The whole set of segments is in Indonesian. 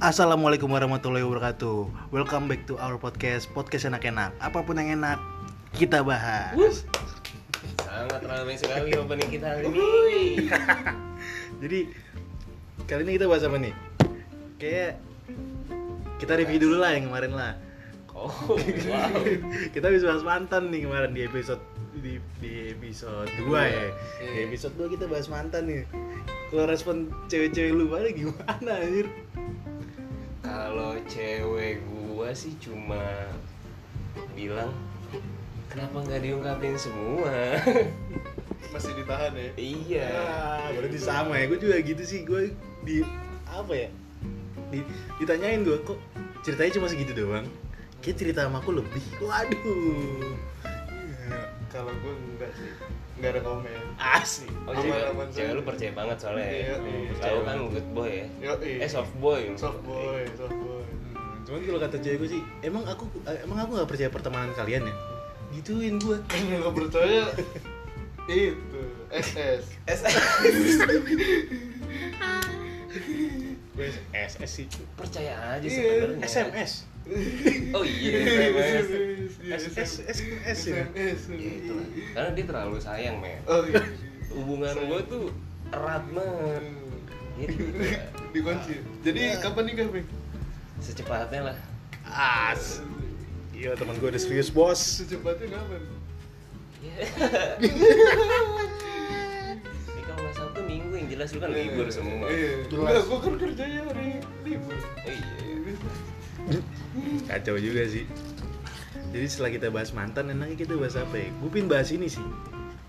Assalamualaikum warahmatullahi wabarakatuh. Welcome back to our podcast, podcast enak-enak. Apapun yang enak kita bahas. Sangat ramai sekali opening kita hari ini. Jadi kali ini kita bahas apa nih? Kayak kita review dulu lah yang kemarin lah. Oh, wow. kita habis bahas mantan nih kemarin di episode di, di episode 2 ya. Di Iya. episode 2 kita bahas mantan nih. Kalau respon cewek-cewek lu pada gimana anjir? Kalau cewek gua sih cuma bilang kenapa nggak diungkapin semua? masih ditahan ya iya. Ah, berarti sama ya. Gue juga gitu sih. Gue di apa ya? Di- ditanyain gue kok ceritanya cuma segitu doang. Kayak cerita sama aku lebih. Waduh. Iya. kalau gue enggak sih enggak ada komen Asik. Oh, Aman, cewek, aman, cewek aman. lu percaya banget soalnya. Iya, ya. iya. Cowok kan good boy ya. Yo, iya. Eh soft boy. soft boy soft boy Hmm, Cuman kalau kata cewek gue sih, emang aku emang aku gak percaya pertemanan kalian ya? Gituin gue. yang nggak percaya itu SS Eh, Gue SS sih. Percaya aja Iya, sebenarnya. SMS. Oh iya, SMS. iya, SS SMS ya. SMS Iya, itulah. Karena dia terlalu sayang, men. oh iya Hubungan Sayang. gua tuh erat banget. Jadi gitu Hmm. ya. dikunci jadi kapan nikah Bang? Secepatnya lah. As. Iya teman gue udah serius bos. secepatnya kapan Ini kalau nggak Sabtu Minggu yang jelas lu kan libur semua. iya Jelas. enggak gue kan kerjanya hari libur Oh, Iya. Kacau juga sih. Jadi setelah kita bahas mantan, enaknya kita bahas apa ya? Gue pin bahas ini sih.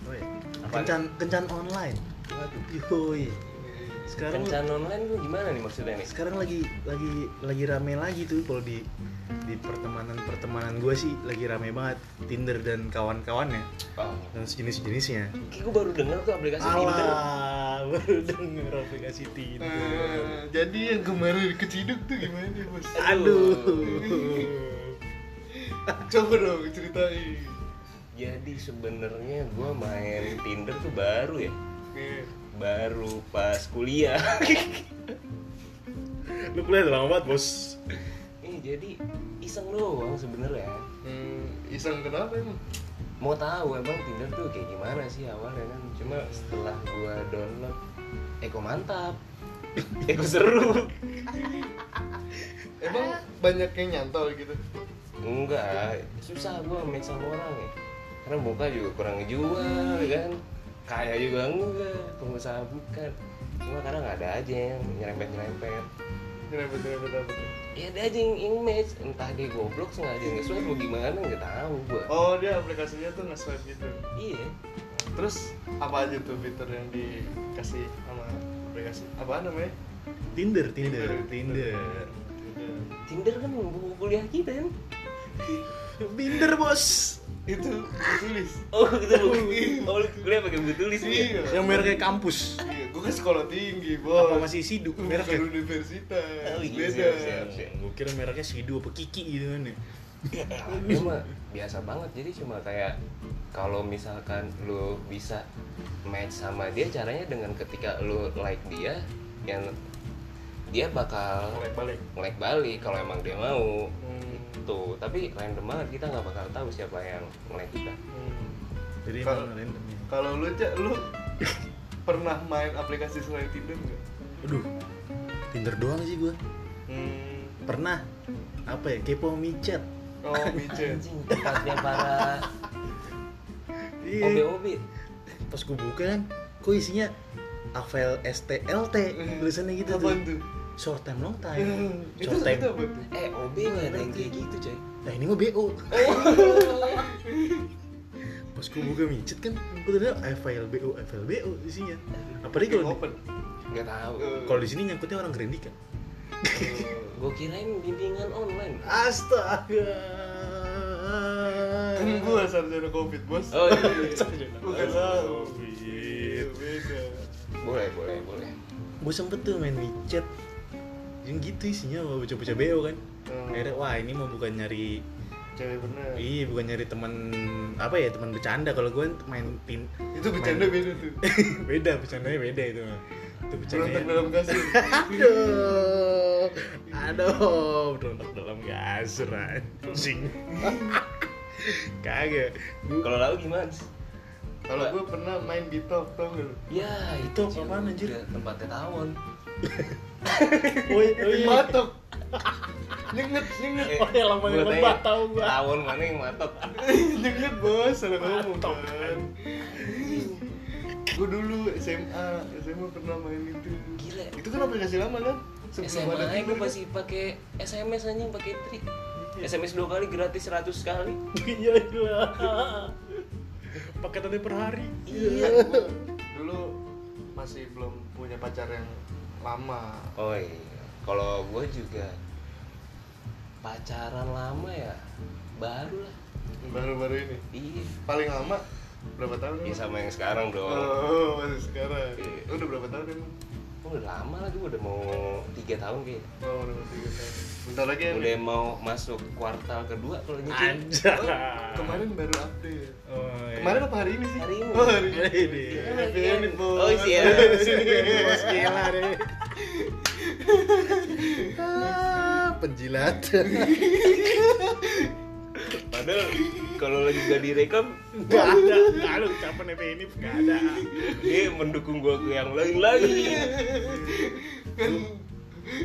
Oh ya. Apa? Kencan, kencan online. Waduh. Yoi. Sekarang Kencan online tuh gimana nih maksudnya nih? sekarang lagi lagi lagi rame lagi tuh kalau di di pertemanan pertemanan gue sih lagi rame banget Tinder dan kawan-kawannya Oh. dan sejenis-jenisnya. Kayak gue baru dengar tuh aplikasi Tinder. Alah, baru denger aplikasi Tinder. Eh, jadi yang kemarin keciduk tuh gimana bos Aduh. coba dong ceritain Jadi sebenarnya gue main Tinder tuh baru ya. Nih. Baru pas kuliah. Lu kuliah udah lama banget, Bos. Ini Eh, jadi iseng doang sebenarnya. Hmm, iseng kenapa emang? Mau tahu emang Tinder tuh kayak gimana sih awalnya kan? Cuma setelah gue download, Eko mantap, Eko seru. Emang banyak yang nyantol gitu. Enggak, susah gua match sama orang ya Karena muka juga kurang ngejual kan Kaya juga enggak, pengusaha bukan Cuma karena nggak ada aja yang nyerempet-nyerempet Kenapa kenapa kenapa? Ya ada aja yang, yang match, entah dia goblok sengaja nge-swipe mau gimana nggak tahu gua Oh, dia aplikasinya tuh nge-swipe gitu. Iya, Terus apa aja tuh fitur yang dikasih sama aplikasi? Apa namanya? Tinder, Tinder, Tinder. Tinder. Tinder kan buku kuliah kita kan Tinder, Bos. Itu tulis. Oh gitu, oh lu kuliah pakai buku tulis Iya. ya? Yang mereknya kampus. Iya, gua kan sekolah tinggi, bos. Apa masih ya? Sidu Bukan mereknya? universitas. Oh, iya, Beda. siap, siap, siap. Gue kira mereknya Sidu apa Kiki gitu kan ya. Gue Eh, mah biasa banget jadi cuma kayak kalau misalkan lu bisa match sama dia caranya dengan ketika lu like dia yang dia bakal Balik-balik. like balik kalau emang dia mau Hmm. tuh tapi random banget kita nggak bakal tahu siapa yang like kita Hmm. Jadi Kalau- emang random ya. Kalau lu, Cak, lu pernah main aplikasi selain Tinder nggak? Aduh. Tinder doang sih gue. Hmm. Pernah apa ya? Kepo micet. Oh, micet. anjing tempatnya para Iya. OB-OB Pas gue buka kan, kok isinya AVL STLT tulisannya gitu Apaan tuh. tuh? Short time long time. Eh, Itu Short time. itu apa tuh? eh OB nggak ada yang kayak gitu coy Nah ini mah BO. Pas gue buka micet kan, gue ternyata AVL BO, AVL BO isinya. Apalagi kalau di- Open. nggak tahu Eh, kalau di gitu. sini nyangkutnya orang Grandika. gue kirain bimbingan online Astaga. kan gua sarjana covid bos. Oh, iya. Bukan tahu. Covid. Beda. boleh boleh boleh Gue sempet tuh main micet yang gitu isinya sama bocah-bocah BO kan Oh. akhirnya wah ini mau bukan nyari Cewek bener. iya bukan nyari teman apa ya teman bercanda kalau gue main tin Itu bercanda beda tuh. beda bercandanya beda itu mah. itu Berontak bercandanya dalam kasur. Aduh. aduh berontak dalam kasur anjing kagak Gua- Kalau lalu gimana? sih? Kalau gue pernah main di top tau gak lu? Ya Itu juga apaan, anjir? Tempatnya tawon. oh, iya, oh, Di iya. matok. Nyenget, nyenget. Oh, yang lambangnya Gua lembah, tanya, tahu gua. Tawon mana yang matok? Nyenget bos, salah Iya. ngomong Matok. kan. Gue dulu SMA, SMA pernah main itu. Gila. Itu kan aplikasi lama kan? SMA ada aja Tinder gue kan? masih pakai SMS anjing pakai tri. SMS dua kali gratis 100 kali. Iya, iya. Paketannya per hari. Iya. Gua dulu masih belum punya pacar yang lama. Oh iya. Kalau gue juga pacaran lama ya baru lah. Baru-baru ini. Iya. Paling lama berapa Iya tahun? emang? sama yang sekarang dong. Oh, masih sekarang. Iya. Udah berapa tahun emang? Oh, udah lama lah gue udah mau tiga tahun kayaknya. Oh, udah mau tiga tahun. Bentar lagi ya. Udah mau masuk kuartal kedua kalau gitu. nyicil. Anjay. Oh, kemarin baru update. Oh, iya. Kemarin apa hari ini sih? Hari ini. Oh, hari ini. Hari ini. Happy ending, bos. Oh, iya. Bos gila deh. Ah, penjilat. Padahal kalau lagi gak direkam, Gak ada, gak ada ucapan EP ini gak ada. dia mendukung gua ke yang lain lagi. Kan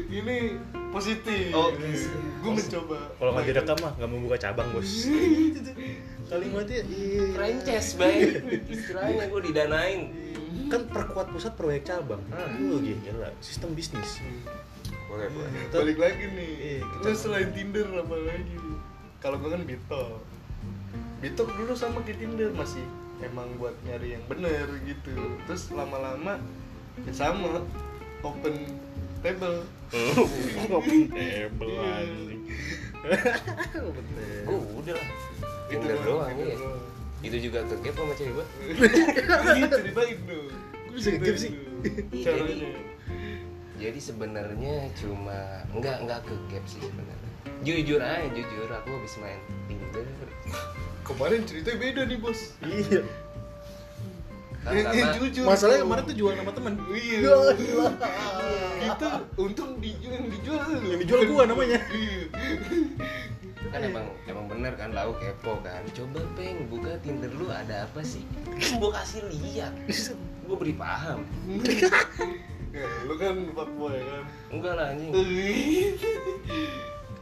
ini positif. Oh, gue mencoba. Kalau nggak direkam mah nggak mau buka cabang bos. Kalimatnya iya. Franchise, bay. Istilahnya gua didanain. Kan perkuat pusat perbanyak cabang. Aduh gila, sistem bisnis. Boleh, boleh. Balik lagi nih. Iya, kita- Lu selain Tinder apa lagi nih? Kalau gue kan Bitok. Bitok dulu sama kayak Tinder masih emang buat nyari yang bener gitu. Terus lama-lama ya sama open table. Open table Iya. anjing. Open table. Gua udah lah. Tinder doang Tinder ya. doang. Itu juga kegep sama cewek gua. Ini ceritain dong. Kok bisa ngegame sih? Ceritain dong. Iya, jadi- Caranya. Jadi sebenarnya cuma nggak nggak kegep sih sebenarnya. Jujur aja, jujur aku habis main Tinder. Kemarin ceritanya beda nih bos. Iya. Eh, eh, Kan Karena jujur. Masalahnya kemarin tuh jual nama temen. Iya. Ya Allah. Itu untung dijual yang dijual. lu. Iya. Yang dijual gua namanya. Iya. kan emang emang bener kan lau kepo kan coba peng buka tinder lu ada apa sih gue kasih lihat gue beri paham Ya, lu kan fuckboy kan. enggak lah anjing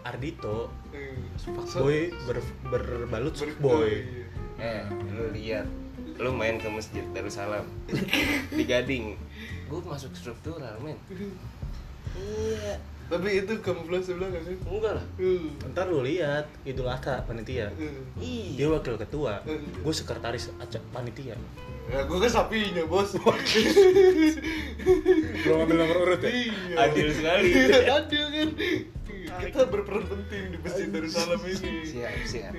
Ardito, Eh, fuckboy ber, berbalut fuckboy. Iya. eh lu lihat lu main ke masjid Darussalam di Gading gue masuk struktural men iya Tapi itu kamuflase belakang kan. enggak lah Eh, Ntar lu lihat Idul Adha panitia. eh. Dia iya wakil ketua, gue sekretaris acak panitia. Ya gua kan sapinya bos. Belum ngambil nomor urut ya? Iya. Adil sekali. Adil kan. Kita berperan penting di masjid Darussalam ini. siap siap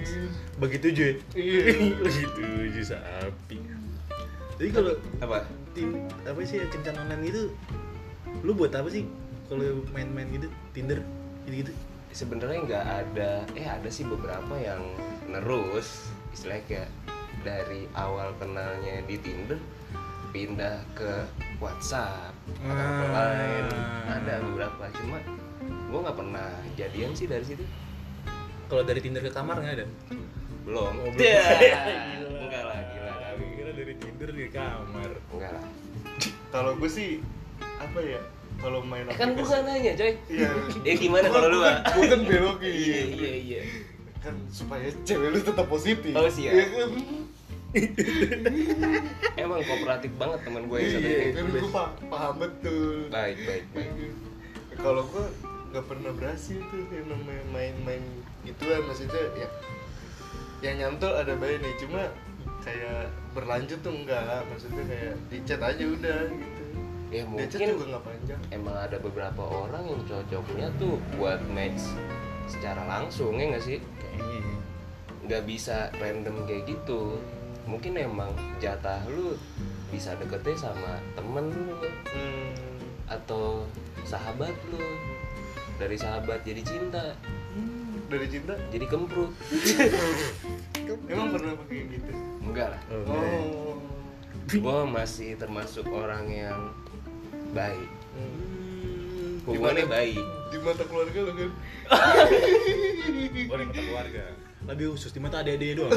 Begitu Ju. Iya. Begitu Ju sapi. Jadi kalau apa tim apa sih kencan online gitu, lu buat apa sih kalau main-main gitu Tinder gitu gitu? sebenarnya nggak ada eh ada sih beberapa yang nerus istilahnya kayak dari awal kenalnya di Tinder pindah ke WhatsApp atau ke Ah. lain ada beberapa cuma gue nggak pernah jadian sih dari situ Kalau dari Tinder ke kamar nggak ada? belum Oh, belum. Dah. Gila. Oh. enggak lah gila kali. Kira dari Tinder di kamar. enggak lah Kalau gua sih apa ya? Kalau main eh kan aplikasi- bukan nanya coy Iya. ya gimana kalau lu ah Bukan belokin. iya iya iya Kan supaya cewek lu tetap positif. Oh, siap. Iya kan? emang kooperatif banget teman gue yang gitu, satu Iya, ini kan gua pa- paham betul. baik baik baik gitu. Ya, Kalau gua nggak pernah berhasil tuh yang namanya main-main gituan maksudnya ya yang nyantol ada baik nih cuma kayak berlanjut tuh enggak maksudnya kayak di chat aja udah gitu ya di mungkin chat juga nggak panjang emang ada beberapa orang yang cocoknya tuh buat match secara langsung ya nggak sih Kayaknya. ya. nggak bisa random kayak gitu mungkin emang jatah lu bisa deketnya sama temen lu hmm. atau sahabat lu dari sahabat jadi cinta dari cinta jadi kemprut emang pernah pakai yang gitu enggak lah Oh, oh gua masih termasuk orang yang baik Hmm. hubungannya baik di mata keluarga lo kan Oh, di mata keluarga. Lebih khusus di mata adik-adik doang.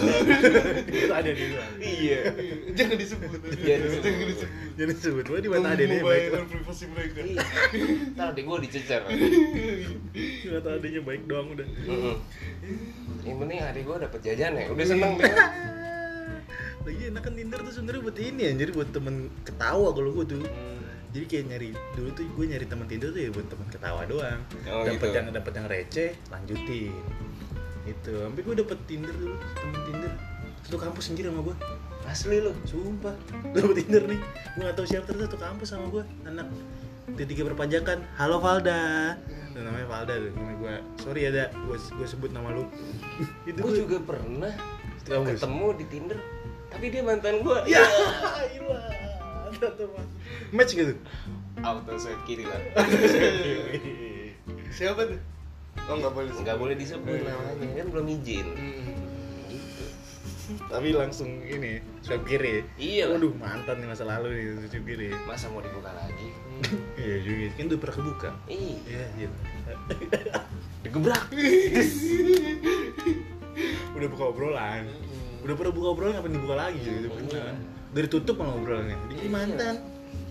di mata adik-adik doang. iya jangan disebut Jangan Iya, disebut. Jadi sebetulnya di Kamu mata adiknya baik. membahayakan privasi mereka Iya. ntar deh gue dicecer Di mata adiknya baik doang udah. Mm-mm. yang penting hari gue dapet jajan ya Iya. udah seneng deh Lagi enak kan Tinder tuh sebenarnya buat ini anjir buat temen ketawa kalau gue tuh. Hmm. Jadi kayak nyari dulu tuh gue nyari temen Tinder tuh ya buat temen ketawa doang. Oh, dapet gitu. yang dapet yang receh, lanjutin. Itu, sampai gue dapet Tinder dulu, temen Tinder satu kampus sendiri sama gue asli lu sumpah dapet Tinder nih gue gak tau siapa ternyata satu kampus sama gue anak tiga perpajakan halo Valda Hmm. Tuh, namanya Valda tuh nama gue sorry ya da gue gue sebut nama lu itu gue gua- juga pernah Itu kampus. ketemu di tinder tapi dia mantan gue ya ilah Tante mah. match gitu auto swipe kiri lah Iya. siapa tuh oh nggak boleh nggak boleh disebut Iya. namanya kan belum izin Hmm. gitu tapi langsung ini swipe kiri Iya lah. waduh mantan nih masa lalu nih swipe kiri masa mau dibuka lagi iya juga kan udah pernah kebuka ih iya iya digebrak udah buka obrolan Mm-mm. udah pernah buka obrolan ngapain dibuka lagi gitu Iya. beneran dari tutup malah obrolannya di Iya. mantan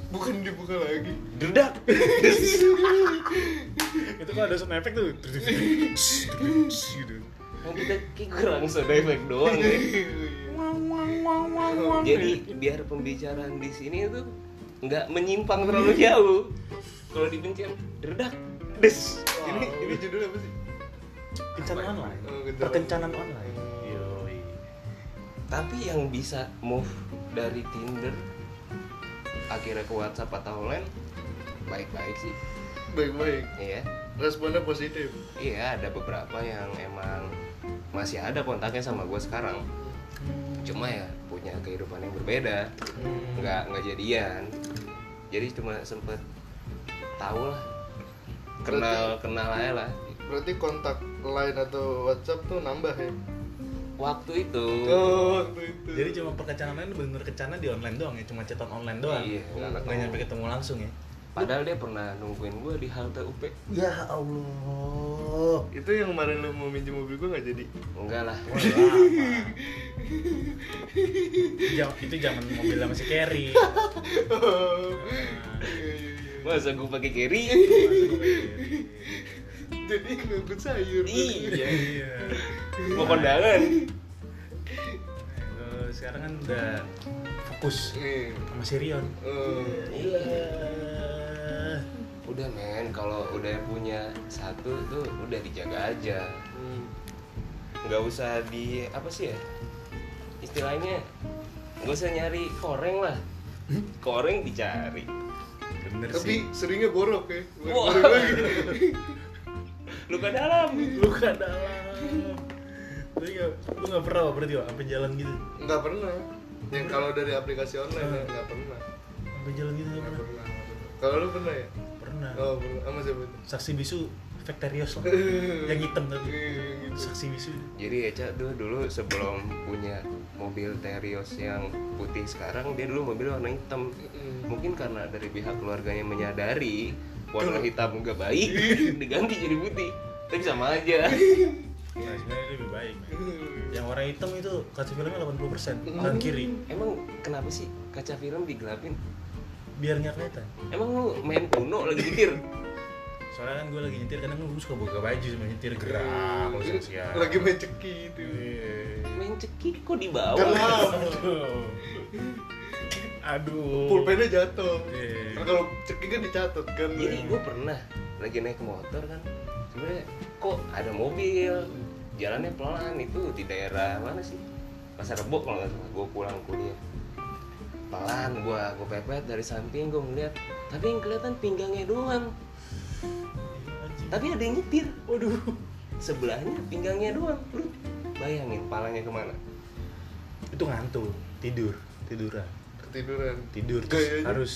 bukan dibuka lagi derdak itu kan ada sound effect tuh gitu Nah, kita kayak kurang sound effect doang ya. Jadi biar pembicaraan di sini tuh nggak menyimpang terlalu jauh. Kalau di pencet derdak des. ini ini judul apa sih kencan online Oh, kencan. perkencanan online Yoi. Tapi yang bisa move dari Tinder akhirnya ke WhatsApp atau lain baik-baik sih. baik-baik Iya. responnya positif Iya, ada beberapa yang emang masih ada kontaknya sama gue sekarang. Cuma ya punya kehidupan yang berbeda. nggak nggak jadian jadi cuma sempet tahu lah kenal kenal aja lah berarti kontak lain atau WhatsApp tuh nambah ya waktu itu oh waktu itu jadi cuma perkencanan online bener-bener kencanan di online doang ya cuma chatan online doang Iya, nggak nggak ketemu. nyampe ketemu langsung ya padahal dia pernah nungguin gue di halte UP ya Allah itu yang kemarin lu mau minjem mobil gua nggak jadi enggak lah Jam, itu zaman mobilnya masih carry Iya, iya, iya. masa gue pakai carry jadi ngangkut sayur iya iya mau kondangan Eh, sekarang kan udah fokus Nih, sama Sirion eh, Iya. udah men kalau udah punya satu tuh udah dijaga aja hmm. nggak usah di apa sih ya istilahnya nggak usah nyari koreng lah koreng dicari bener sih tapi seringnya borok ya Bukan Wah. borok lagi. luka dalam luka dalam lu nggak lu nggak pernah apa berarti Wak? sampai jalan gitu nggak pernah yang kalau dari aplikasi online ya, nggak pernah sampai jalan gitu nggak nggak pernah pernah nggak pernah. kalau lu pernah ya pernah oh pernah sama siapa itu saksi bisu Vectorios lah yang hitam tapi Iya, yang gitu. saksi bisu jadi Eca tuh dulu sebelum punya mobil Terios yang putih sekarang dia dulu mobil warna hitam mungkin karena dari pihak keluarganya menyadari warna hitam nggak baik diganti jadi putih tapi sama aja iya. nah sebenarnya itu lebih baik yang warna hitam itu kaca filmnya 80% Hmm. dan kiri emang kenapa sih kaca film digelapin biar nggak kelihatan emang lu main kuno lagi nyetir soalnya kan gue lagi nyetir kadang gue suka buka baju sama nyetir gerak Iya. kalau siang-siang Hmm. Iya. lagi main ceki itu Iya. main cekik kok di bawah gelap aduh aduh pulpennya jatuh Iya. Nah, kalau ceki kan dicatat kan jadi gue pernah lagi naik motor kan sebenarnya kok ada mobil jalannya pelan itu di daerah mana sih pasar rebo kalau nggak salah gue pulang kuliah pelan gue gue pepet dari samping gue ngeliat tapi yang kelihatan pinggangnya doang tapi ada yang nyetir waduh sebelahnya pinggangnya doang lu bayangin palanya kemana itu ngantuk tidur tiduran ketiduran tidur terus Kayaknya. harus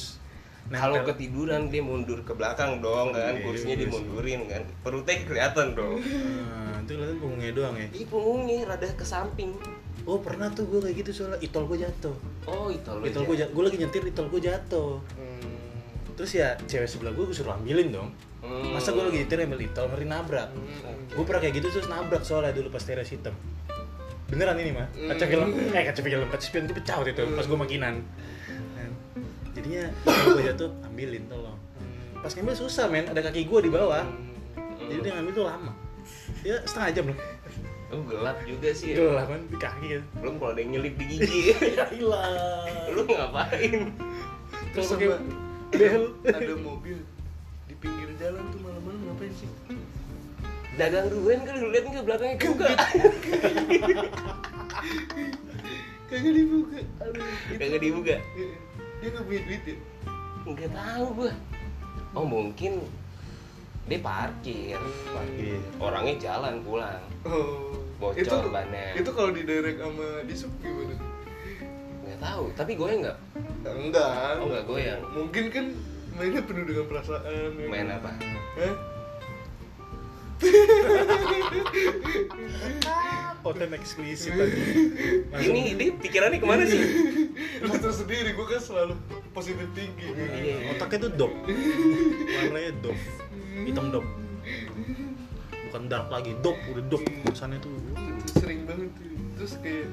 kalau nempel. ketiduran dia mundur ke belakang dong kan Iya, iya kursinya sih. dimundurin kan perutnya kelihatan dong Ah, itu kelihatan punggungnya doang ya di punggungnya rada ke samping oh pernah tuh gue kayak gitu soalnya itol gue jatuh oh itu lo itol gue jatuh gue lagi nyetir itol gue jatuh Hmm. terus ya cewek sebelah gue gue suruh ambilin dong Hmm. masa gue lagi nyetir ambil itu mari nabrak gue pernah kayak gitu terus nabrak soalnya dulu pas teras hitam beneran ini mah kaca film eh kaca film kaca spion itu pecah waktu itu pas gue makinan Dan jadinya gue jatuh ambilin tolong pas ngambil susah men ada kaki gue di bawah jadi dia ngambil tuh lama ya setengah jam loh Lu gelap juga sih ya. gelap kan di kaki gitu Belum kalau ada yang nyelip di gigi. ya hilang lu ngapain? Terus Terus pakai sama- behel. ada mobil di pinggir jalan tuh malam-malam ngapain sih? Dagang durian kali lu lihat enggak belakangnya juga. Kagak dibuka. Aduh, gitu. Kagak dibuka. Iya. Dia nggak punya duit ya? Enggak tahu gua. Oh, mungkin dia parkir. Parkir. Orangnya jalan pulang. Oh. Bocor itu, bannya. Itu kalau diderek sama disuk gimana? Enggak tahu, tapi gue enggak. Nah, enggak. Oh, enggak goyang. Mungkin kan mainnya penuh dengan perasaan. ya. Main apa? Hah? konten eksplisit lagi Langsung- Ini dia pikirannya kemana sih? Lu terus sendiri, gue kan selalu positif tinggi. Iya. otaknya tuh dop warnanya dop hitam dop bukan dark lagi dop udah dop kesannya tuh Itu sering banget tuh. terus kayak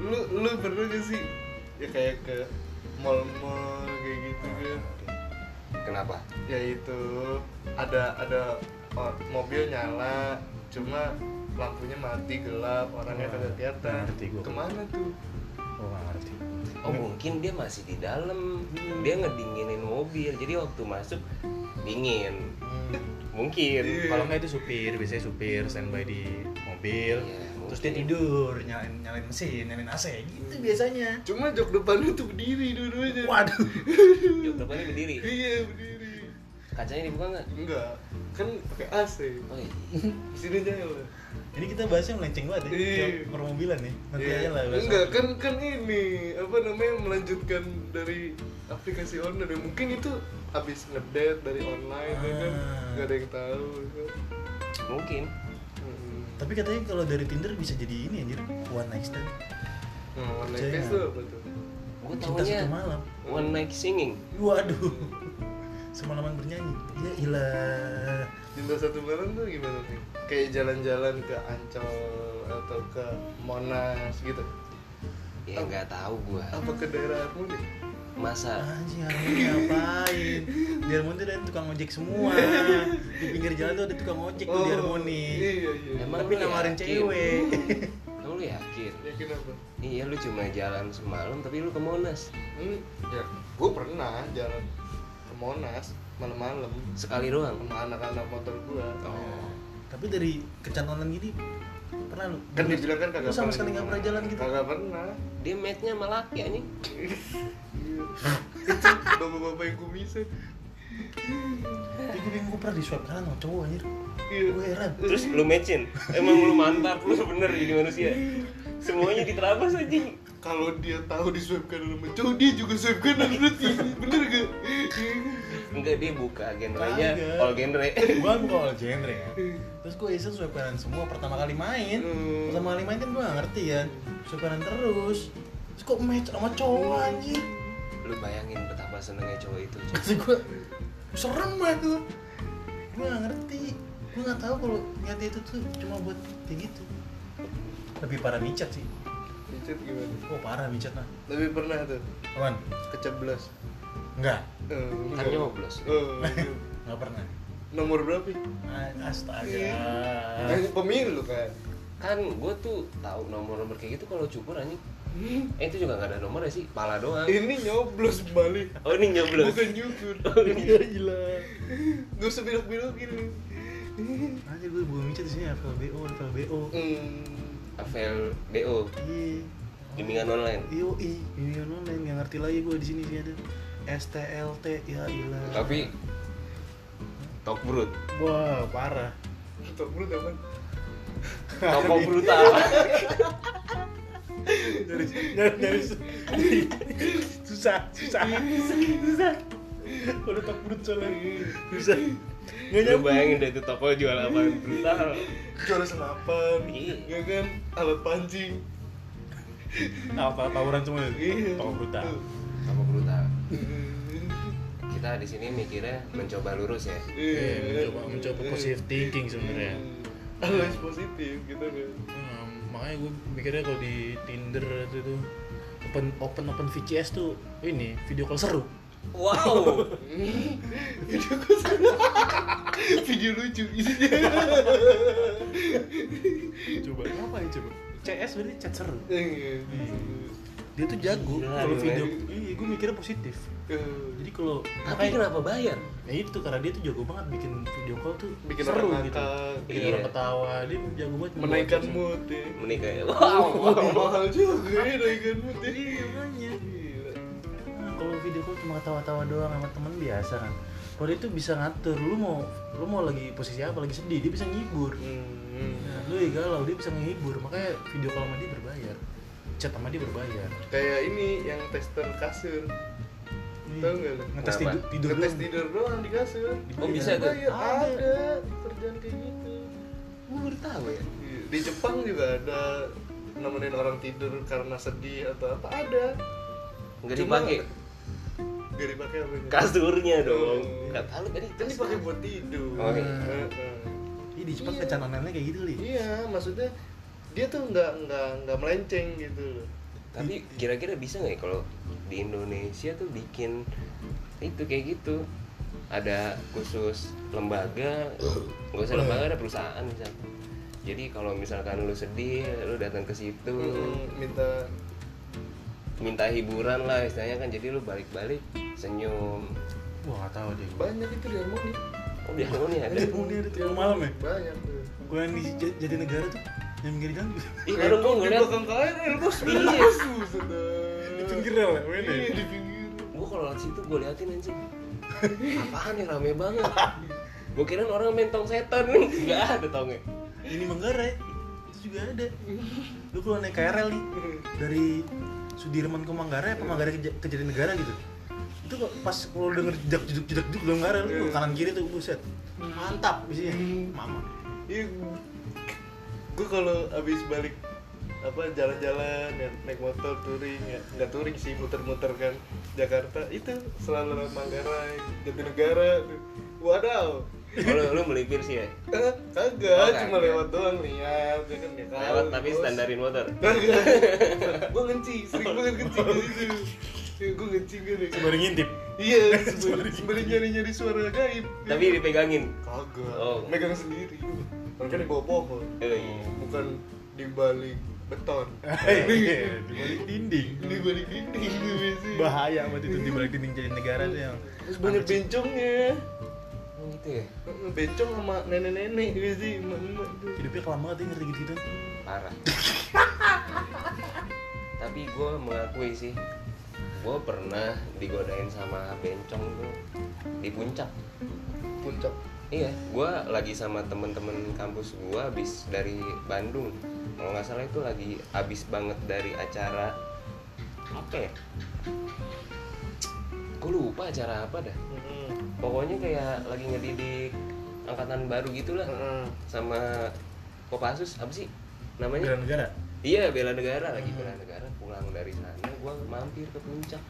lu lu pernah gak sih ya kayak ke mall-mall kayak gitu Ah, kan Kenapa? ya itu ada ada o- mobil nyala cuma lampunya mati gelap orangnya Wah, Nah, kagak kelihatan ngerti gua. kemana tuh oh nggak ngerti Oh mungkin dia masih di dalam, dia ngedinginin mobil, jadi waktu masuk dingin. Mungkin. kalau nggak itu supir biasanya supir standby di mobil Iya, terus dia mungkin. tidur nyalain nyalain mesin nyalain AC gitu biasanya cuma jok depannya tuh berdiri dua-duanya waduh Jok depannya berdiri. iya berdiri Kacanya dibuka nggak? enggak kan pakai AC Oh, iya. sini ya, jalan ini kita bahasnya melenceng banget ya Iya. kayak permobilan nih nanti Iya. aja lah bahas Enggak, kan kan ini apa namanya melanjutkan dari aplikasi online ya. mungkin itu habis ngedate dari online ya kan Ah. nggak ada yang tahu ya kan. Mungkin. Hmm. tapi katanya kalau dari Tinder bisa jadi ini anjir one night stand Nah, online Percaya face nggak? tuh apa tuh? Gue cinta taunya satu malam one night singing. waduh semalaman bernyanyi ya ilah Cinta satu malam tuh gimana sih? Kayak jalan-jalan ke Ancol atau ke Monas gitu. Ya nggak tahu gue. Apa ke daerah Harmoni? Ah. Masa Anjing Harmoni ngapain? Di Harmoni tuh ada tukang ojek semua. Di pinggir jalan tuh ada tukang ojek tuh di Harmoni. Oh, Iya, iya. Emang Tapi lu nawarin yakin? cewek. kamu lu yakin? Yakin apa? Iya lu cuma jalan semalam tapi lu ke Monas Hmm, ya, gue pernah jalan ke Monas malam-malam. sekali doang. sama anak-anak motor gua Oh. Tapi dari kecantonan gini pernah lu? kan dibilang kan Lu kagak sama sekali nggak pernah jalan gitu. kagak pernah Dia matchnya sama laki anjing. Iya. bapak-bapak yang kumisan Tapi gue bingung gue pernah di swipe kanan sama cowok anjir. iya Gue heran. Terus lu matchin. Emang lu mantap lu bener jadi manusia. Semuanya diterabas anjing. kalau dia tahu di kan swipe kanan sama cowok "Oh, dia juga swipe kanan berarti bener gak Enggak dia buka genrenya Kagak. all genre. Gue bukan genre ya. Terus gue iseng swipe kanan semua pertama kali main. Hmm. Pertama kali main kan gue nggak ngerti kan. Swipe kanan terus. Terus kok match sama cowok anjir. Lu bayangin betapa senengnya cowok itu. Cok. Maksud gue serem banget tuh. Gue gak ngerti. Gue gak tahu kalau niatnya itu tuh cuma buat kayak gitu. Lebih parah micat sih. Cicit gimana Oh parah micat nah. tapi pernah tuh Aman? keceblas Enggak. Eh, Kan nyoblos. Eh, iya. Gak pernah. nomor berapa Ah, Astaga. Iya. Kan pemilu kan Kan gue tuh tahu nomor-nomor kayak gitu kalau cukur anjing. Eh itu juga gak ada nomornya sih, pala doang. ini nyoblos balik Oh ini nyoblos. Oh, iya, bukan nyukur Gila gila. gak usah bilok-bilokin Anjir gue buka micat di sini ya, FLBO, FLBO. Hmm. Avel BO, Iya. bimbingan online. Iyo i, ini online nggak ngerti lagi gue di sini sih ada STLT ya ilah. Tapi tok brut. wah parah. Tutup mulut kapan? Toko brutal. nyari nyari nyari susah susah susah udah tak perut soalnya susah nggak Lu nyampe bayangin deh itu toko jual apa brutal. Juara senapan, Iya. ya kan? Alat pancing. Nah, apa tawuran semua ya? Iya. ah. toko brutal Toko brutal. Kita kita di sini mikirnya mencoba lurus ya Iya, mencoba- mencoba positive thinking sebenarnya. Iya. harus positif gitu kan Hmm, makanya gue mikirnya kalau di Tinder itu tuh open open open VCS tuh ini video call seru. wow video lucu isinya Coba apa ya coba? CS berarti chat seru. Iya. Dia tuh jago Gila, kalau gila. video. Iya, gue mikirnya positif. Jadi kalau tapi kenapa bayar Ya itu karena dia tuh jago banget bikin video call tuh bikin seru orang gitu. ngakak, Bikin Iya. orang ketawa, dia jago banget membuat menaikkan suasana. mood ya menikah ya Wah, wow mahal juga ya naikkan mood ya Iya, makanya. Gila. Nah, kalau video call cuma ketawa-tawa doang sama temen biasa kan. Kalau dia tuh bisa ngatur, lu mau lu mau lagi posisi apa, lagi sedih, dia bisa ngibur. Hmm. Nah, lu ya galau, dia bisa ngibur. Makanya video call sama dia berbayar. Chat sama dia berbayar. kayak ini yang tester kasur Nih, Tahu nggak lu? Ngetes Kenapa? tidur Iya. tidur ngetes doang. tidur doang di kasur Oh, bisa Iya, tuh? iya, Ada. ada kerjaan kayak gitu gue baru tahu ya Iya. di Jepang juga ada nemenin orang tidur karena sedih atau apa ada nggak Cuma- dipakai gak dipakai apa kasurnya dong Hmm. kata lu tadi kan dipakai buat tidur Oh, iya. Heeh. Ih, di Jepang Iya. kecanonannya kayak gitu, Li. iya maksudnya dia tuh nggak nggak nggak melenceng gitu loh tapi kira-kira bisa nggak ya kalau di Indonesia tuh bikin itu kayak gitu ada khusus lembaga nggak usah lembaga ada perusahaan misalkan jadi kalau misalkan lu sedih lu datang ke situ Mm, minta minta hiburan lah istilahnya kan jadi lu balik-balik senyum Wah, nggak tahu deh. gua. banyak itu di harmoni oh di harmoni ada Oh, ini ada tidur malam ya? banyak tuh Gue yang di Jat- Jatinegara tuh yang pinggir jalan ih baru gua di ngeliat belakang kain ada bos Iya. di pinggir rel ya, main ya? iya di pinggir gua kalau lewat situ gua liatin anjing apaan ya rame banget gua kira orang main tong setan nggak ada tongnya ini Manggarai itu juga ada lu kalau naik KRL nih dari Sudirman ke Manggarai apa Manggarai ke, Ja- ke Jatinegara gitu itu kok pas kalau denger jedak jeduk jedak jeduk dalam Manggarai lu Iya. kanan kiri tuh buset mantap isinya mama iya gue kalau abis balik apa jalan-jalan ya, naik motor touring ya nggak touring sih muter-muter kan Jakarta itu selalu lewat Manggarai Jatinegara tuh wadaw Oh, lu, lu melipir sih ya? Eh, Oh, kagak cuma kagak. lewat doang lihat ya kan ya kan Lewat tapi bos. standarin motor kagak gue ngenci sering banget Oh. ngenci gue ngenci gue deh baru ngintip iya sembari- sembari nyari nyari suara gaib Tapi dipegangin kagak Oh. megang sendiri mereka di bawah pohon Oh, iya. bukan di balik beton Iya, di balik dinding di balik dinding tuh biasanya. bahaya amat itu di balik dinding Jatinegara tuh yang terus banyak bencongnya Oh gitu ya? bencong sama nenek-nenek biasanya emak-emak tuh. hidupnya kelam banget ya ngerti gitu gitu Parah Tapi gue mengakui sih Gue pernah digodain sama bencong tuh Di puncak puncak Iya, gue lagi sama temen-temen kampus gue abis dari Bandung Kalau nggak salah itu lagi abis banget dari acara Apa ya? Gue lupa acara apa dah Heeh. Pokoknya kayak lagi ngedidik angkatan baru gitulah Heeh. sama Kopassus apa sih namanya? negara negara Iya bela negara lagi Hmm. bela negara pulang dari sana gua mampir ke puncak.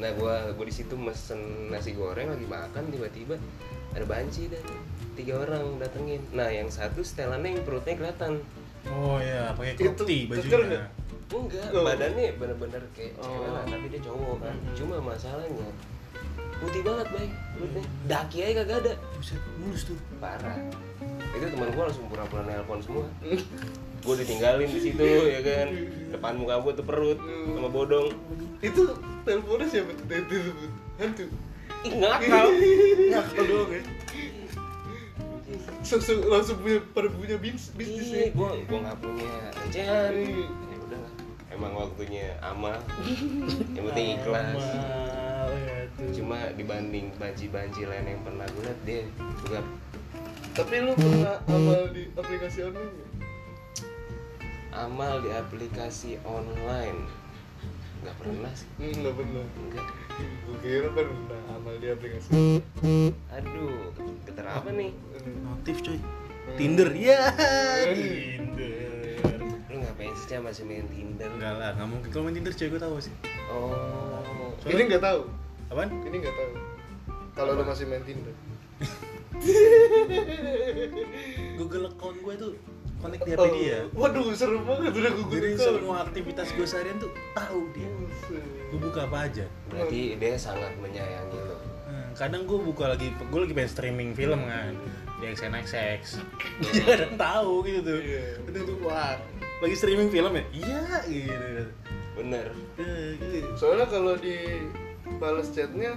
Nah gua gua di situ mesen nasi goreng lagi makan tiba-tiba ada banci dan tiga orang datengin. Nah yang satu setelannya yang perutnya kelihatan. oh iya pakai Itu kurti keker bajunya nggak? Enggak, Oh. badannya bener-bener kayak cewek Oh. lah, tapi dia cowok kan. Mhm. Cuma masalahnya putih banget baik, perutnya. Hmm. Daki aja kagak ada. buset mulus tuh parah itu teman gue langsung pura-pura nelpon semua gue ditinggalin di situ ya kan depan muka gue tuh perut sama bodong itu teleponnya siapa tuh dari telepon hantu ih ngakal ngakal doang ya langsung langsung punya pada punya ya. bis ih bisnisnya gue gue nggak punya recehan Iya. ya udahlah emang waktunya amal yang penting ikhlas Amal, ya tuh. cuma dibanding banci-banci lain yang pernah gue liat dia juga tapi lu pernah amal di aplikasi online nggak? amal di aplikasi online nggak pernah sih Hmm, nggak pernah enggak gue kira pernah amal di aplikasi aduh getar apa nih Notif coy. Tinder ya. Tinder. lu ngapain sih Cah, masih main Tinder Enggak lah, nggak mungkin kalau main Tinder coy gue tahu sih. Oh, ini nggak tahu Apaan? ini nggak tahu kalau lu masih main Tinder Google account gue tuh connect di HP dia. Oh, waduh seru banget udah Jadi gue google semua aktivitas gue seharian tuh tahu dia. Gue buka apa aja. berarti dia sangat menyayangi lo Hmm, kadang gue buka lagi, gue lagi pengen streaming film kan di XNXX. Dia kadang tahu gitu tuh. Iya. Itu tuh wah lagi streaming film ya? Iya gitu. bener Eh, gitu. soalnya kalau di balas chatnya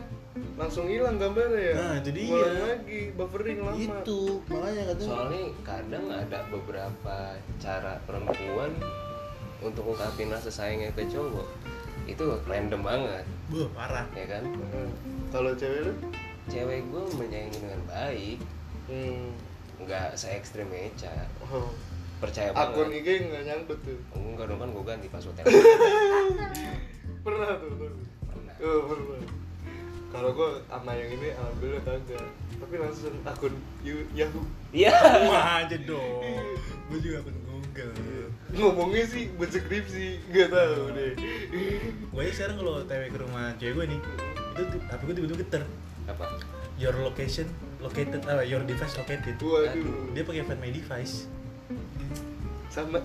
langsung hilang gambarnya ya Nah, Gitu. itu dia. Ngulang lagi buffering lama Itu makanya katanya. soalnya kadang ada beberapa cara perempuan untuk ungkapin rasa sayangnya ke cowok itu random banget Buh, parah. ya kan Nah, kalau cewek lu cewek gue menyayangi dengan baik hmm. nggak se ekstrim Eca oh. percaya akun banget IG nggak nyangkut tuh enggak dong kan gue ganti passwordnya pernah tuh tuh Pernah. oh, pernah kalau gua sama yang ini alhamdulillah kagak tapi langsung akun Yu- Yahoo iya Wah aja dong. Gue Iya. juga akun Google. ngomongnya sih buat skripsi nggak tahu deh Gue sekarang kalau TW ke rumah cewek gue nih, itu tuh HP gue tiba-tiba geter. apa Your location located, apa your device located. waduh Dia pakai Find My Device. sama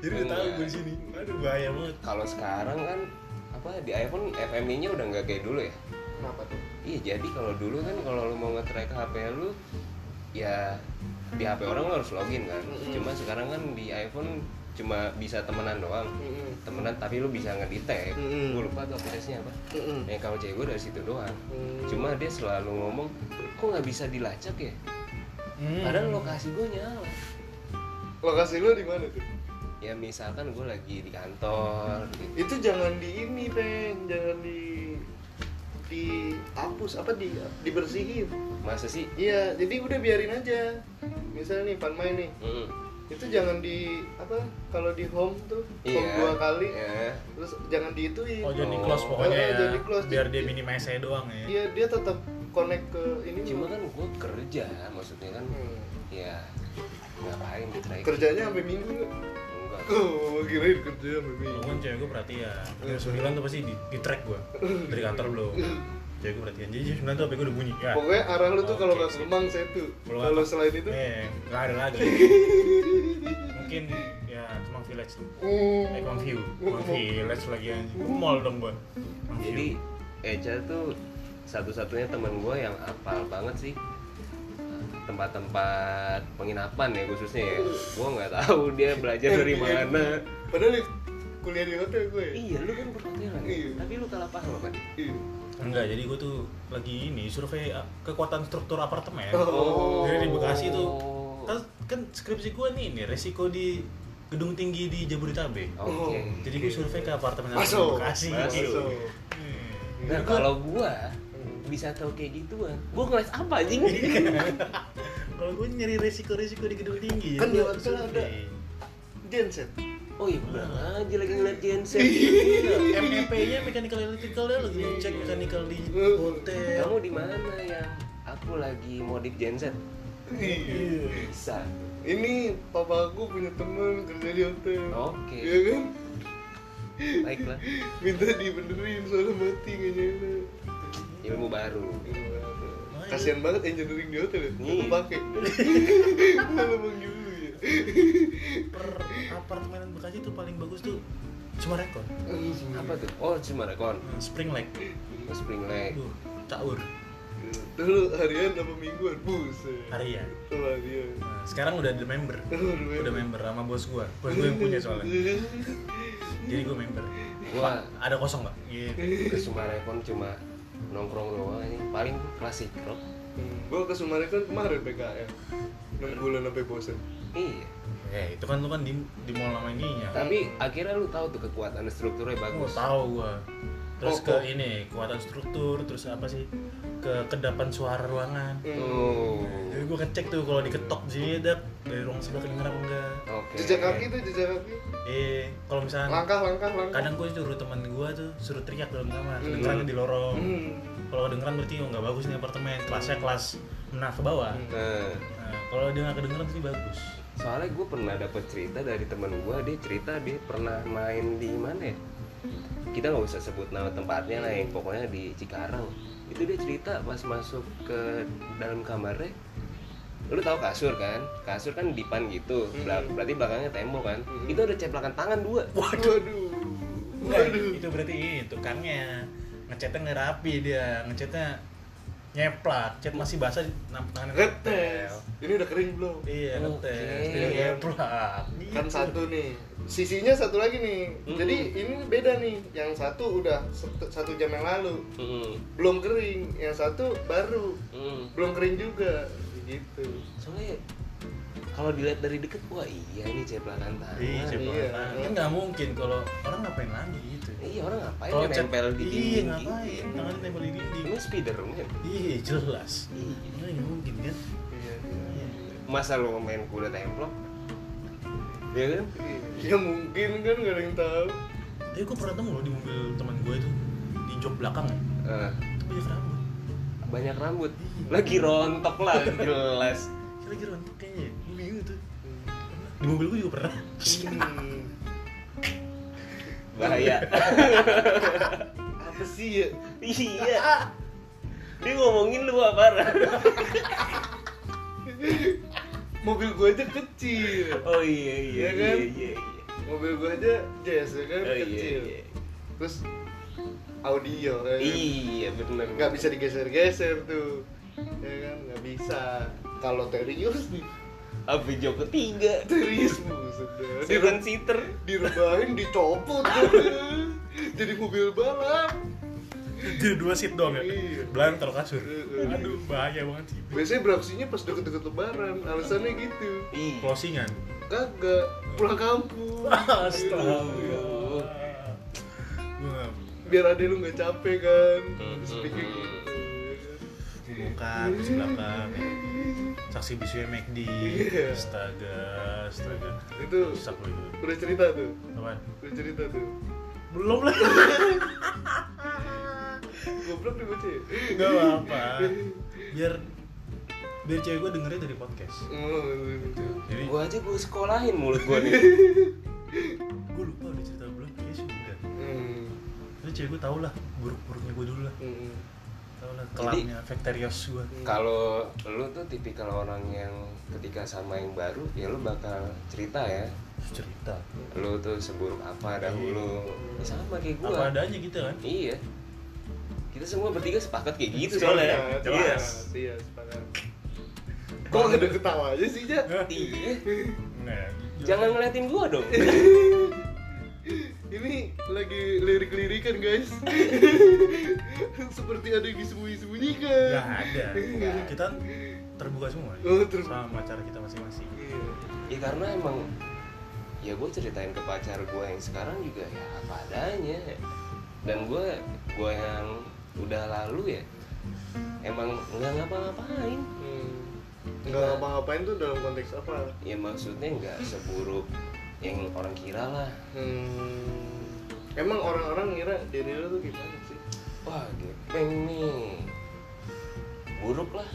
Jadi udah tahu gue di sini. Aduh bahaya banget. kalau sekarang kan apa di iPhone FMI-nya udah nggak kayak dulu ya kenapa tuh Iya jadi kalau dulu kan kalau lu mau nge-track HP lu ya di HP orang lu harus login kan. Mm-mm. Cuma sekarang kan di iPhone cuma bisa temenan doang. Mm-mm. Temenan tapi lu bisa nge-detect. Mm-mm. Gue lupa tuh aplikasinya apa. Mm-mm. Ya kalau cewek gue dari situ doang. Mm. Cuma dia selalu ngomong kok nggak bisa dilacak ya. Mm. Hmm. Padahal lokasi gue nyala. lokasi lu di mana tuh Ya misalkan gue lagi di kantor gitu. itu jangan di ini peng jangan di di hapus apa di dibersihin Masa sih? iya jadi udah biarin aja misalnya nih panmai nih Mm. itu jangan di apa kalau di home tuh home Iya. dua kali Iya. terus jangan diituin Oh jadi Oh. close pokoknya Oh, ya. jadi close. Biar dia minimize saya doang ya. iya dia tetap connect ke ini Cuma kan gue kerja maksudnya kan. Hmm. Ya ngapain di-track? kerjanya sampai minggu nggak? Enggak. oh kirain kerja sampai Kalau minggu kan cewek gue perhatian. Iya. Jam sembilan tuh pasti di, di track gue dari kantor belum. Cewek gue perhatian. Jadi jam sembilan tuh HP gue udah bunyi. Ya. pokoknya arah lu tuh kalau Oke, nggak sip. kembang satu Kalau kalau apa? selain itu Eh, nggak ada lagi. Mungkin ya Kemang Village. hmm, Eh, Kemang View. Kemang Village lagi aja. Ke mall dong gua. Kemang View. Jadi Eja tuh satu-satunya temen gue yang apal banget sih tempat-tempat penginapan ya khususnya ya. Gue nggak tahu dia belajar dari Iya. mana. padahal ya, kuliah di hotel gue ya? Iya, lu kan berhotelan. Iya. Tapi lu kalah paham kan? Iya. Enggak, jadi gue tuh lagi ini survei uh, kekuatan struktur apartemen. Oh. Jadi di Bekasi tuh. Terus kan skripsi gue nih ini risiko di gedung tinggi di Jabodetabek. Oke. Oh. Jadi gue survei ke apartemen apartemen masuk Bekasi. Masuk. gitu. masuk Hmm. Nah, kalau gua bisa tahu kayak gituan, gua ngeles apa anjing? Iya. Kalau gue nyari risiko-risiko di gedung tinggi, Kan jadi di gua hotel ada. survei. genset oh iya, bilang aja lagi ngeliat genset. Iya. MEP-nya mechanical electrical dia lagi cek mechanical di hotel. Kamu di mana yang aku lagi modif genset? Iya. Bisa. ini papa aku punya temen kerja di hotel Oke. Iya kan Baiklah, minta dibenerin soalnya mati nggak nyala ilmu baru. kasian banget engineering di hotel ya Iya. aku pakai malah bang dulu ya Per apartemen Bekasi tuh paling bagus tuh cuma rekor. Apa tuh? Oh, Cimarekon. Spring Lake. Oh, Spring Lake. Duh, caur dulu harian apa mingguan buset harian. Oh, harian Nah, sekarang udah ada member. Aduh, Udah member sama bos gua. Bos gua yang punya soalnya. Jadi gua member. Gua Ada kosong nggak? Iya. ke Cimarekon cuma nongkrong doang ini paling klasik rock. gue Hmm, ke Summarecon kemarin PKL 6 bulan sampai bosen Iya. Eh, itu kan lu kan di di mall lama ininya. Tapi akhirnya lu tahu tuh kekuatan strukturnya Gua bagus. Oh, tahu gua. Terus Oh, ke oh. ini, kekuatan struktur, terus apa sih? Ke kedapan suara ruangan. Tuh. Jadi gua ngecek tuh kalau diketok di sini ada dari ruang sebelah kedengeran apa enggak. Oke. jejak kaki tuh jejak kaki Eh, kalau misalnya langkah langkah langkah kadang gue suruh teman gue tuh suruh teriak dalam kamar, Hmm. kedengeran di lorong. Hmm. Kalau kedengeran berarti oh nggak bagus nih apartemen, kelasnya kelas menengah ke bawah. Nah, Nah, kalau dia nggak kedengeran berarti bagus. soalnya gue pernah dapet cerita dari temen gue dia cerita dia pernah main di mana ya kita nggak usah sebut nama tempatnya lah yang pokoknya di Cikarang itu dia cerita pas masuk ke dalam kamarnya lu tahu kasur kan kasur kan dipan gitu Hmm. Bela- Mhm. berarti belakangnya tembok kan Mhm. itu ada ceplakan tangan dua Waduh. Enggak, Waduh. itu berarti tukangnya ngecatnya nggak rapi dia ngecatnya nyeplak cat masih basah di nam- tangan Retes. Ini udah kering belum? iya Oke. retes dia nyeplak Gitu. Kan satu nih. Sisinya satu lagi nih. Mm-mm. Jadi ini beda nih. Yang satu udah set- satu jam yang lalu Hmm. Mhm. belum kering, yang satu baru Mhm. belum kering juga. Gitu. soalnya kalau dilihat dari deket wah iya ini ceplakan tangan iya iya. ceplak kan nggak mungkin kalau orang ngapain lagi gitu iya orang ngapain Kalau ya cat- nempel di iya dinding ngapain gitu. tangan nempel di dinding ini ya? Spiderman iya jelas Iya. ini nggak mungkin kan Iya. masa lu main kuda templok ya kan Ya mungkin kan gak ada yang tahu. tapi gue pernah temu loh di mobil teman gue itu di jok belakang ya Eh, itu banyak rambut banyak rambut lagi rontok lah jelas Dia lagi rontok kayaknya ya. gue bingung tuh di mobil gue juga pernah Hmm. bahaya Apa sih ya? iya dia ngomongin lu apa parah Mobil gua aja kecil. oh iya iya Iya iya kan? iya iya. Mobil gua aja jazz ya kan oh iya kecil. iya Terus audio. ya kan? iya bener nggak bisa digeser-geser tuh ya kan nggak bisa kalau terius nih apa jok ketiga terius buset dah. seven Dire- seater direbahin dicopot jadi mobil balap jadi dua seat doang ya Iya. belantar kasur Iya. aduh bahaya banget sih biasanya beraksinya pas deket-deket lebaran alasannya gitu iya closingan kagak pulang kampung astaga biar ada lu nggak capek kan Mm-mm. speaking gitu ya muka kan? terus belakang ya. saksi bisu McD Iya. astaga astaga itu rusak lu itu udah cerita tuh Apaan? udah cerita tuh belum lah goblok nih bocah ya? nggak apa-apa biar biar cewek gue dengerin dari podcast Oh, gitu. jadi gua aja gua sekolahin mulut gua nih gue lupa udah cerita belum ya sudah Hmm. Terus cewek gue tau lah buruk-buruknya gue dulu lah Mm-mm. tau lah kelamnya Vectorios gue Kalau lu tuh tipikal orang yang ketika sama yang baru ya lu bakal cerita ya. Terus cerita Lu tuh seburuk apa dahulu. Ya sama kayak gua. Iya. apa adanya gitu kan Iya. Kita semua bertiga sepakat kayak gitu soalnya. Sepakat, Iya. Iya, sepakat. Kok ada ketawa aja sih, Ja? Iya. nah, Jangan ngeliatin gua dong. Iya. Ini lagi lirik-lirikan, guys. Seperti ada yang disembunyi-sembunyikan. Iya. nggak ada Nggak. kita Iya. terbuka semua ya. Oh, terbuka. sama cara kita masing-masing Iya. ya karena emang ya gue ceritain ke pacar gue yang sekarang juga ya apa adanya dan gue gue yang udah lalu ya emang nggak ngapa-ngapain Hmm. Nggak ngapa-ngapain tuh dalam konteks apa? ya maksudnya nggak seburuk yang orang kira lah Hmm. Emang orang-orang ngira diri lu tuh gimana sih? wah gepeng nih buruk lah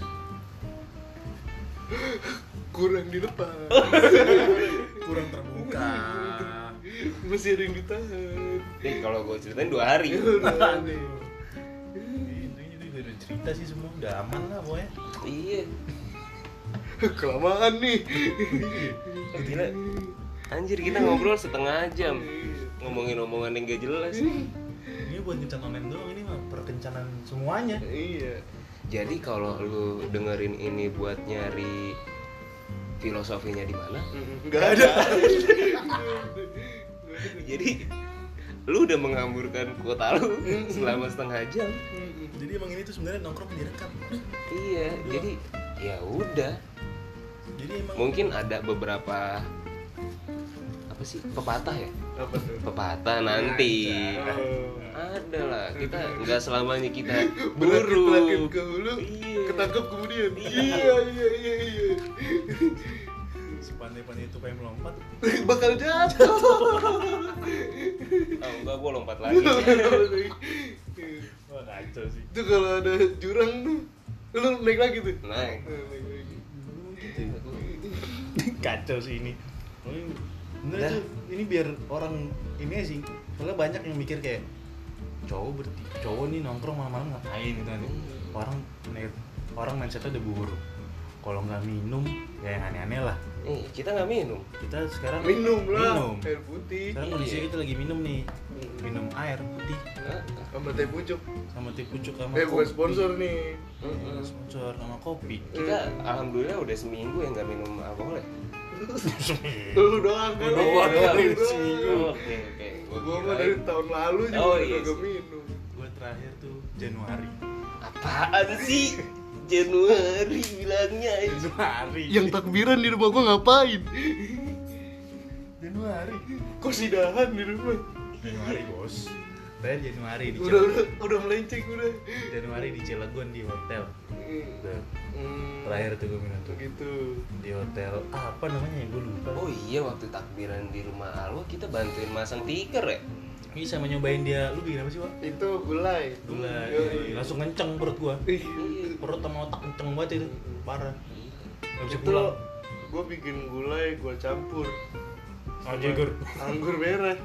Kurang di depan. kurang terbuka Masih ada yang ditahan. Nih kalau gue ceritain dua hari Udah aneh. itu itu gitu. udah cerita sih semua udah aman lah pokoknya iya Kelamaan nih. Eh, gila anjir kita ngobrol setengah jam ngomongin omongan yang gak jelas ini buat kencan online doang ini mah perkencanan semuanya Iya. Jadi kalau lu dengerin ini buat nyari filosofinya di mana? Enggak ada. Jadi lu udah menghamburkan kuota lu selama setengah jam. jadi emang ini tuh sebenarnya nongkrong direkam Iya, jadi ya udah. jadi emang Mungkin ada beberapa apa sih pepatah ya? Apa tuh? Pepatah nanti. Eh, Oh. Ada lah. Kita nggak selamanya kita Berarti belakang buruk. ke hulu, Iya. ketangkep kemudian. Iya. Iya, iya, iya, iya. sepandai-pandai itu pengen melompat iya. Bakal jatuh. Oh, enggak gua lompat lagi. wah kacau sih Iya. Itu kalau ada jurang tuh, lu naik lagi tuh. Naik. Gitu. Eh, naik lagi. kacau sih ini Dah. iya. Bener tuh, ini biar orang ini sih soalnya banyak yang mikir kayak cowok berarti cowok nih nongkrong malam-malam ngapain gitu kan orang orang mindsetnya udah buruk kalau nggak minum ya yang aneh-aneh lah Eh, kita nggak minum kita sekarang minum lah minum. air putih sekarang kondisinya Iya. kita lagi minum nih minum air putih Hah? sama teh pucuk sama teh pucuk sama eh bukan kopi. sponsor nih Iya, sponsor sama kopi kita alhamdulillah udah seminggu ya nggak minum alkohol ya lu doang kan Lu Lu doang, doang. lu Oh, oke oke Gua gua mah kirain. dari tahun lalu juga Oh, udah iya kagak sih. minum gue terakhir tuh Januari apaan sih Januari bilangnya anjing. Januari takbiran di rumah gua ngapain Januari kosidahan di rumah Januari bos terakhir Januari di udah Cilegon udah udah melenceng udah Januari di Cilegon di hotel Tuh, Hmm. Nah, terakhir tuh gue minum tuh tuh gitu di hotel apa namanya ya gue lupa oh iya waktu takbiran di rumah Alwa kita bantuin masang tikar ya ini sama nyobain dia lu bikin apa sih Wak? itu gulai gula Yoi. iya, langsung kenceng perut gua Ih, perut sama otak kenceng banget itu parah nggak bisa itu pulang gue bikin gulai gue campur aja gur anggur merah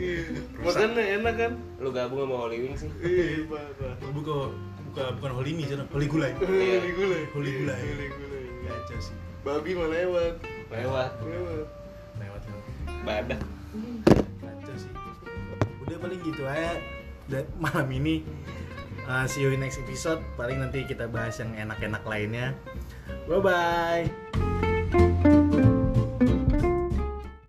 Ih, makannya enak kan lu gabung sama Holy Wings sih Iya. Ih, parah buka buka bukan holy mie sana holy gulai Ih, Di gulai Holy Iya. gulai. Holy gulai. aja sih babi mah lewat lewat lewat lewat lewat badak Kacau sih udah paling gitu aja Da- malam ini Uh, see you in next episode paling nanti kita bahas yang enak-enak lainnya bye bye